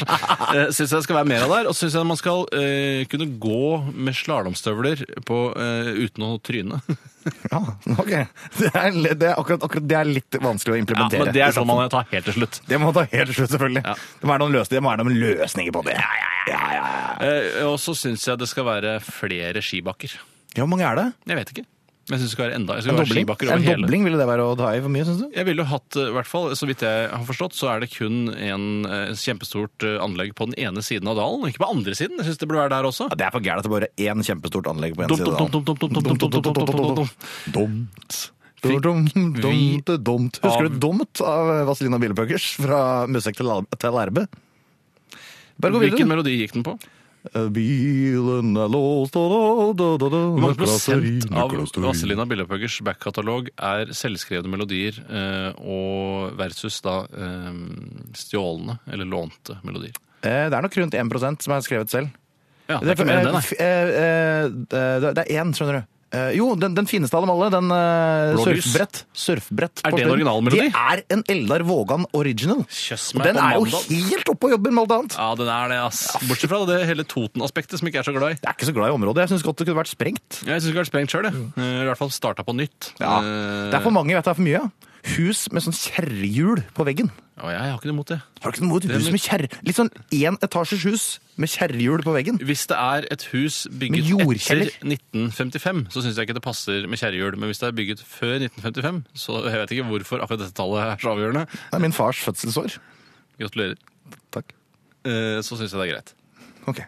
Speaker 2: eh, syns jeg det skal være mer av der. Og syns jeg man skal eh, kunne gå med slalåmstøvler på, eh, uten å tryne.
Speaker 3: Ja, ok. Det er, litt- det, er akkurat, akkurat det er litt vanskelig å
Speaker 2: Ja,
Speaker 3: implementere.
Speaker 2: men det er sånn man tar helt til slutt.
Speaker 3: Det må ta helt til slutt, selvfølgelig.
Speaker 2: Ja.
Speaker 3: Det må være noen løsninger, det må være noen løsninger på det.
Speaker 2: Eh, og så syns jeg det skal være flere skibakker.
Speaker 3: Ja, hvor mange er det?
Speaker 2: Jeg vet ikke. Men jeg syns det skal være enda jeg
Speaker 3: En
Speaker 2: skal være
Speaker 3: dobling?
Speaker 2: skibakker
Speaker 3: En
Speaker 2: over hele.
Speaker 3: dobling ville det være å ta i for mye, syns du?
Speaker 2: Jeg ville jo hatt, eh, i hvert fall, så vidt jeg har forstått, så er det kun en eh, kjempestort eh, anlegg på den ene siden av dalen, ikke på andre siden. Jeg syns det burde være der også.
Speaker 3: Ja, det er for gærent at det bare er én kjempestort anlegg på en
Speaker 2: Dum,
Speaker 3: side.
Speaker 2: dum, dum, dum, dum, dum, dum, dum, dum, dum, dum, dum.
Speaker 3: Dumt. Dumt, dumt, dumt. Husker du Dumt av Vazelina Billepøkers fra Musikk til Al- til Lærbe? Bare gå
Speaker 2: Hvilken
Speaker 3: videre.
Speaker 2: melodi gikk den på?
Speaker 3: Bilen er låst
Speaker 2: Hvor
Speaker 3: Hvor
Speaker 2: mange prosent av Vazelina Billepøggers backkatalog er selvskrevne melodier eh, og versus da eh, stjålne eller lånte melodier?
Speaker 3: Eh, Det er nok rundt 1 som er eh, skrevet selv.
Speaker 2: Ja, det
Speaker 3: Det
Speaker 2: er ikke mer enn det, nei.
Speaker 3: er én, skjønner du. Eh, jo, den, den fineste av dem alle. Den eh,
Speaker 2: Blålys.
Speaker 3: surfbrett. surfbrett
Speaker 2: Er det en
Speaker 3: Portland.
Speaker 2: originalmelodi?
Speaker 3: Det er en Eldar Vågan original.
Speaker 2: Kjøss
Speaker 3: Og
Speaker 2: meg
Speaker 3: den
Speaker 2: på
Speaker 3: er jo
Speaker 2: mandag.
Speaker 3: helt oppe og jobber med alt annet.
Speaker 2: Ja, den er det, ass. Bortsett fra det hele Toten-aspektet, som jeg ikke er så glad i.
Speaker 3: Jeg er ikke så glad i området. Jeg syns godt det kunne vært sprengt.
Speaker 2: Jeg syns ikke det har vært sprengt sjøl, jeg. Eh, I hvert fall starta på nytt.
Speaker 3: Ja.
Speaker 2: Eh,
Speaker 3: Det er for mange, vet du. Det er for mye. ja. Hus med sånn kjerrehjul på veggen.
Speaker 2: å, jeg har ikke noe imot det.
Speaker 3: Har du ikke noe mot
Speaker 2: er
Speaker 3: hus
Speaker 2: litt-
Speaker 3: med kjerre? Litt sånn enetasjes hus med kjerrehjul på veggen.
Speaker 2: Hvis det er et hus bygget
Speaker 3: Med
Speaker 2: etter
Speaker 3: jordkjeller.
Speaker 2: 1955, så syns jeg ikke det passer med kjerrehjul. Men hvis det er bygget før 1955, så jeg vet ikke hvorfor akkurat dette tallet er så avgjørende.
Speaker 3: Det er min fars fødselsår.
Speaker 2: Gratulerer.
Speaker 3: Takk.
Speaker 2: Eh, Så syns jeg det er greit.
Speaker 3: Ok.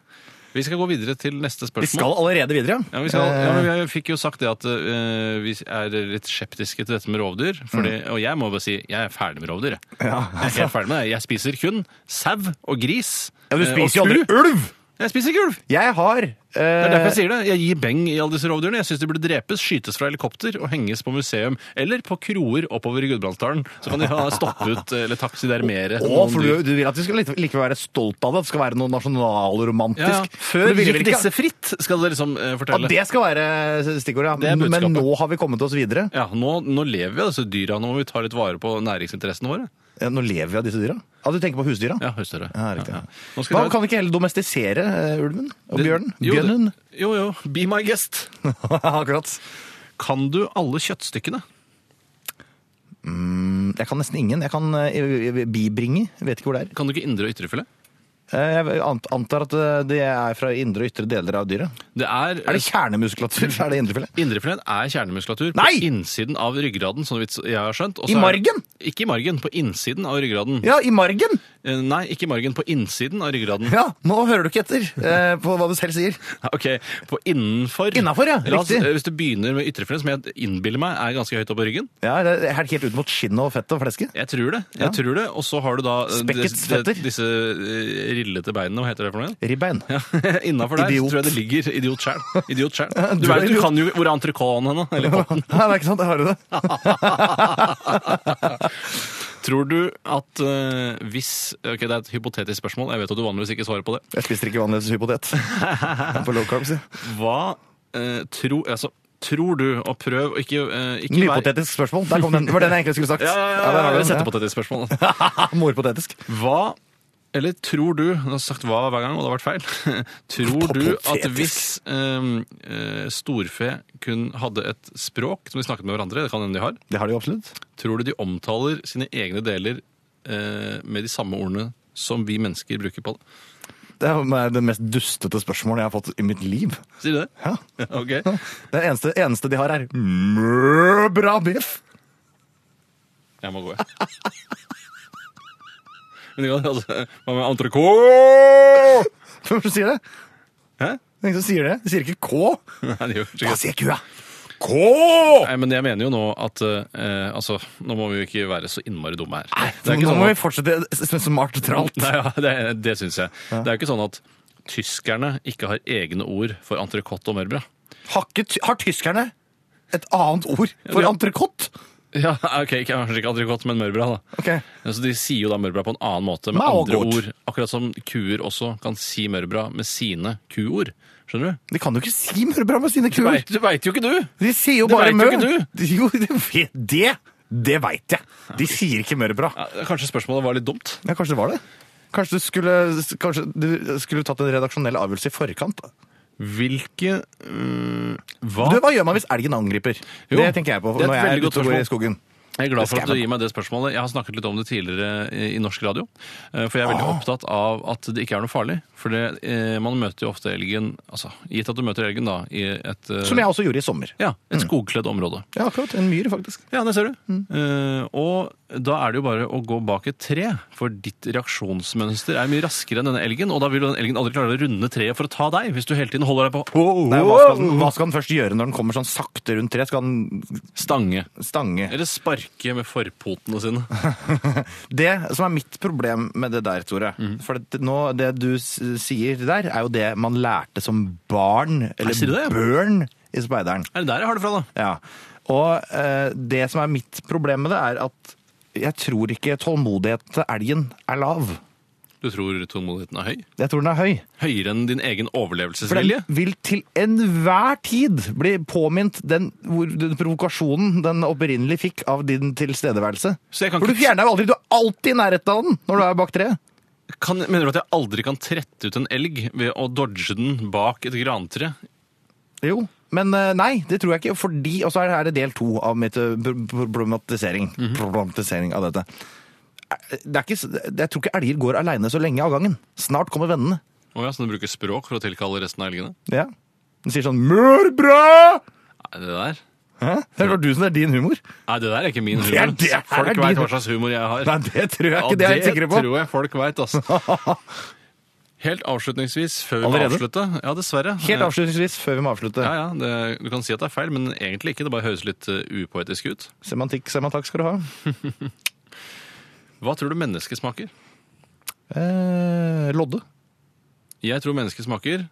Speaker 2: Vi skal gå videre til neste spørsmål.
Speaker 3: Vi skal allerede videre, Eh,
Speaker 2: Ja, vi, skal, ja, men jeg fikk jo sagt det at eh, vi er litt skeptiske til dette med rovdyr. Fordi, Og jeg må bare si jeg er ferdig med rovdyr. Jeg,
Speaker 3: Mm. Ja,
Speaker 2: jeg, er helt ferdig med det. jeg spiser kun sau og gris.
Speaker 3: Ja, men
Speaker 2: eh,
Speaker 3: du
Speaker 2: og
Speaker 3: spiser jo
Speaker 2: ku.
Speaker 3: aldri ulv!
Speaker 2: Jeg spiser ikke ulv!
Speaker 3: Jeg har
Speaker 2: Det er derfor jeg
Speaker 3: eh,
Speaker 2: sier det. Jeg gir beng i alle disse rovdyrene. Jeg syns de burde drepes, skytes fra helikopter og henges på museum. Eller på kroer oppover i Gudbrandsdalen. Så kan de ha stoppe ut eh, eller taksidermere
Speaker 3: å,
Speaker 2: noen
Speaker 3: for
Speaker 2: dyr.
Speaker 3: du, du vil at vi skal lite- likevel være stolt av det? At det skal være noe nasjonalromantisk?
Speaker 2: Ja, ja.
Speaker 3: Før
Speaker 2: Men
Speaker 3: ville
Speaker 2: gikk
Speaker 3: vi ikke
Speaker 2: disse fritt, skal dere liksom eh,
Speaker 3: at
Speaker 2: fortelle.
Speaker 3: det skal være stikkordet,
Speaker 2: Det
Speaker 3: ja.
Speaker 2: er budskapet.
Speaker 3: Men nå har vi kommet oss videre.
Speaker 2: Ja, nå, nå lever vi av disse dyra. Nå må vi ta litt vare på næringsinteressene våre.
Speaker 3: Ja, Eh, nå lever vi av disse dyra. Ja, du tenker på husdyra?
Speaker 2: Ja, høstøre.
Speaker 3: Ja, riktig.
Speaker 2: Nå skal
Speaker 3: Hva,
Speaker 2: dere-
Speaker 3: kan vi ikke heller domestisere eh, ulven? Og
Speaker 2: Det-
Speaker 3: bjørnen?
Speaker 2: Jo, det-
Speaker 3: Bjørnen?
Speaker 2: Jo, jo. Be my guest.
Speaker 3: Akkurat.
Speaker 2: Kan du alle kjøttstykkene?
Speaker 3: Mm, Jeg kan nesten ingen. Jeg kan eh, bibringe. Vet ikke hvor det er.
Speaker 2: Kan du ikke indre og ytrefilet?
Speaker 3: Eh, Jeg ant- antar at eh, det er fra indre og ytre deler av dyret.
Speaker 2: Det er,
Speaker 3: Er det kjernemuskulatur? Er det indrefilet?
Speaker 2: Indrefilet er kjernemuskulatur på
Speaker 3: Nei!
Speaker 2: innsiden av ryggraden, sånn vidt jeg har skjønt. og så
Speaker 3: I
Speaker 2: er-
Speaker 3: margen?
Speaker 2: Ikke i margen, på innsiden av ryggraden.
Speaker 3: Ja, i margen!
Speaker 2: Eh, Nei, ikke i margen, på innsiden av ryggraden.
Speaker 3: Ja, nå hører du ikke etter eh, på hva du selv sier.
Speaker 2: Ok, på innenfor.
Speaker 3: Innenfor, ja,
Speaker 2: La oss-
Speaker 3: riktig.
Speaker 2: eh, Hvis du begynner med ytrefilet, som jeg innbiller meg er ganske høyt oppe på ryggen.
Speaker 3: Ja, det er helt ut mot skinnet og fettet og flesket.
Speaker 2: Jeg tror det. jeg
Speaker 3: Ja.
Speaker 2: tror det, Og så har du da eh,
Speaker 3: Spekket
Speaker 2: dis- de-
Speaker 3: fetter.
Speaker 2: disse eh, rillete beinene, hva heter det for noe? igjen?
Speaker 3: Ribbein.
Speaker 2: Ja, Innafor der så
Speaker 3: Idiot.
Speaker 2: tror jeg det ligger idiot sjæl. Idiot sjæl. Du
Speaker 3: du er
Speaker 2: vet, du
Speaker 3: idiot.
Speaker 2: kan jo hvor entrecôten er nå. Eller potten.
Speaker 3: Nei, det er ikke sant, jeg har du det.
Speaker 2: Tror du at eh, hvis Ok, det er et hypotetisk spørsmål, jeg vet at du vanligvis ikke svarer på det.
Speaker 3: Jeg spiser ikke vanligvis hypotet. Jeg er På low carb, si.
Speaker 2: Hva eh, tro, altså, tror du, og prøv å ikke, eh, ikke
Speaker 3: Mye
Speaker 2: vær-
Speaker 3: potetisk spørsmål. Der kom den. Det var den jeg egentlig skulle sagt.
Speaker 2: Ja, ja, ja,
Speaker 3: der
Speaker 2: ja,
Speaker 3: har du
Speaker 2: ja,
Speaker 3: den,
Speaker 2: sette på til spørsmål.
Speaker 3: Morpotetisk.
Speaker 2: Hva eller tror du Jeg har sagt hva hver gang, og det har vært feil. Tror du at
Speaker 3: Hypotetisk.
Speaker 2: hvis eh, eh, storfe kun hadde et språk som de snakket med hverandre, det kan hende de har,
Speaker 3: Det har de jo absolutt.
Speaker 2: Tror du de omtaler sine egne deler eh, med de samme ordene som vi mennesker bruker på det?
Speaker 3: Det er det mest dustete spørsmålet jeg har fått i mitt liv.
Speaker 2: Sier de det?
Speaker 3: Ja.
Speaker 2: Ok.
Speaker 3: Det eneste, eneste de har, er mø, bra biff.
Speaker 2: Jeg må gå, jeg. Men det kan altså Hva med entrecôte?
Speaker 3: Hvem er det som sier det?
Speaker 2: Hæ?
Speaker 3: Det er ingen som sier det. De sier ikke K.
Speaker 2: Nei, det gjør ikke
Speaker 3: Hva
Speaker 2: det.
Speaker 3: sier kua? K!
Speaker 2: Nei, men jeg mener jo nå at eh, Altså, nå må vi jo ikke være så innmari dumme her.
Speaker 3: Nå må vi fortsette som smart tralt.
Speaker 2: sånn Nei, ja, det, det syns jeg. Det er jo ikke sånn at tyskerne ikke har egne ord for entrecôte og mørbrød.
Speaker 3: Har, ikke, ty- har tyskerne et annet ord for
Speaker 2: Ja.
Speaker 3: entrecôte?
Speaker 2: Ja, ok, ikke- Kanskje ikke entrecôte, men mørbrød, da.
Speaker 3: Ok.
Speaker 2: Ja, Så De sier jo da mørbra på en annen måte, med
Speaker 3: Meget
Speaker 2: andre
Speaker 3: godt.
Speaker 2: ord. Akkurat som kuer også kan si mørbra med sine kuord. Skjønner du?
Speaker 3: De kan jo ikke si mørbra med sine
Speaker 2: Du
Speaker 3: kuer.
Speaker 2: vet- Du veit jo ikke, du!
Speaker 3: De sier jo
Speaker 2: Det
Speaker 3: bare
Speaker 2: vet
Speaker 3: mø.
Speaker 2: jo ikke
Speaker 3: De- Jo, det vet det. Det veit jeg. De sier ikke mørbra.
Speaker 2: Ja, kanskje spørsmålet var litt dumt.
Speaker 3: Ja, kanskje det var det? Kanskje du skulle, kanskje du skulle tatt en redaksjonell avgjørelse i forkant? da?
Speaker 2: Hvilke mm, Hva?
Speaker 3: Du, hva gjør man hvis elgen angriper?
Speaker 2: Jo,
Speaker 3: det tenker jeg på
Speaker 2: det er et
Speaker 3: når jeg
Speaker 2: veldig
Speaker 3: er
Speaker 2: godt
Speaker 3: ute og går i
Speaker 2: spørsmål.
Speaker 3: skogen.
Speaker 2: Jeg er glad for
Speaker 3: Det
Speaker 2: at
Speaker 3: skal
Speaker 2: du
Speaker 3: jeg
Speaker 2: gir meg det spørsmålet. Jeg har snakket litt om det tidligere i- i norsk radio. eh, For jeg er veldig
Speaker 3: Ah.
Speaker 2: opptatt av at det ikke er noe farlig. For det, eh, man møter jo ofte elgen altså, Gitt at du møter elgen, da, i et eh,
Speaker 3: Som jeg også gjorde i sommer.
Speaker 2: ja, et skogkledd område.
Speaker 3: Ja, akkurat. En myr, faktisk.
Speaker 2: Ja, det ser du.
Speaker 3: Mm.
Speaker 2: Eh, og da er det jo bare å gå bak et tre, for ditt reaksjonsmønster er mye raskere enn denne elgen, og da vil jo den elgen aldri klare å runde treet for å ta deg, hvis du hele tiden holder deg på
Speaker 3: Nei, hva, skal den, hva skal den først gjøre når den kommer sånn sakte rundt treet? Skal den
Speaker 2: stange.
Speaker 3: stange?
Speaker 2: Eller sparke med forpotene sine.
Speaker 3: Det som er mitt problem med det der, Tore
Speaker 2: Mhm.
Speaker 3: For det, nå, det du s- sier der, er jo det man lærte som barn, eller
Speaker 2: sier du det?
Speaker 3: børn, i Speideren.
Speaker 2: Er det der jeg har det fra, da?
Speaker 3: Ja. Og eh, det som er mitt problem med det, er at jeg tror ikke tålmodigheten til elgen er lav.
Speaker 2: Du Du tror tålmodigheten er høy?
Speaker 3: Jeg tror den er høy.
Speaker 2: Høyere enn din egen
Speaker 3: For
Speaker 2: overlevelsesvilje?
Speaker 3: den vil til enhver tid bli påminnet den, hvor, den provokasjonen den opprinnelig fikk av din tilstedeværelse.
Speaker 2: Så jeg kan
Speaker 3: For du
Speaker 2: ikke-
Speaker 3: fjerner jo aldri, du er alltid i nærheten av den når du er bak treet.
Speaker 2: Kan, mener du at jeg aldri kan trette ut en elg ved å dodge den bak et grantre?
Speaker 3: Jo, men eh, nei, det tror jeg ikke. Fordi, og så er det her del to av mitt eh, pro- pro- problematisering,
Speaker 2: Mhm.
Speaker 3: problematisering av dette. Eh, Det er ikke, s- jeg tror ikke elger går alene så lenge av gangen. Snart kommer vennene.
Speaker 2: Å ja, så du bruker språk for å tilkalle resten av elgene?
Speaker 3: Ja. De sier sånn Mørbra!
Speaker 2: Nei, det der
Speaker 3: Hæ? Det var du som er din humor.
Speaker 2: Nei, det der er ikke min humor.
Speaker 3: Det er- det er
Speaker 2: Folk
Speaker 3: din-
Speaker 2: veit hva slags humor jeg har.
Speaker 3: Nei, det tror jeg
Speaker 2: Ja,
Speaker 3: ikke. det er jeg helt sikker på.
Speaker 2: tror jeg folk veit, altså. Helt avslutningsvis, før vi må
Speaker 3: Allerede?
Speaker 2: avslutte Ja, dessverre. Eh,
Speaker 3: Helt avslutningsvis, før vi må avslutte.
Speaker 2: Ja, ja, det, Du kan si at det er feil, men egentlig ikke. Det bare høres litt eh, upoetisk ut.
Speaker 3: Semantikk, semantakk skal du ha.
Speaker 2: Hva tror du mennesket smaker?
Speaker 3: Eh, lodde.
Speaker 2: Jeg tror mennesket smaker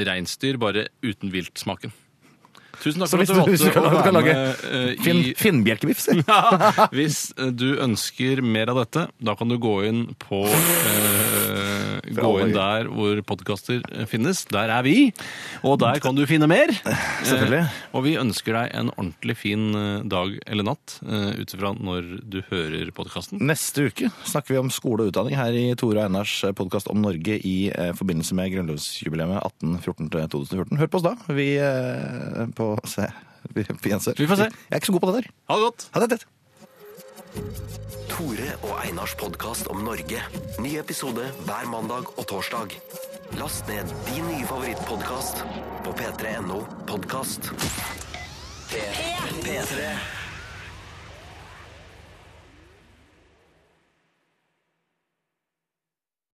Speaker 2: reinsdyr, bare uten viltsmaken. Tusen takk
Speaker 3: Så
Speaker 2: for
Speaker 3: hvis
Speaker 2: at du
Speaker 3: du- hvis du
Speaker 2: valgte
Speaker 3: kan-
Speaker 2: å
Speaker 3: du kan
Speaker 2: være
Speaker 3: lage
Speaker 2: med eh, i
Speaker 3: Finn, Finnbjelkebiff, si.
Speaker 2: Hvis eh, du ønsker mer av dette, da kan du gå inn på eh, Gå inn der hvor podkaster finnes. Der er vi, og der kan du finne mer.
Speaker 3: Selvfølgelig.
Speaker 2: Eh, og vi ønsker deg en ordentlig fin eh, dag eller natt uh, ut ifra når du hører podkasten.
Speaker 3: Neste uke snakker vi om skole og utdanning her i Tore og Einars podkast om Norge i eh, forbindelse med grunnlovsjubileet 1814-2014. Hør på oss da. Vi eh, på se. Vi, vi gjenser.
Speaker 2: Vi får se.
Speaker 3: Jeg er ikke så god på det der.
Speaker 2: Ha det godt!
Speaker 3: Ha det tett.
Speaker 1: Tore og Einars podkast om Norge. Ny episode hver mandag og torsdag. Last ned din nye favorittpodkast på p3.no podkast. P3.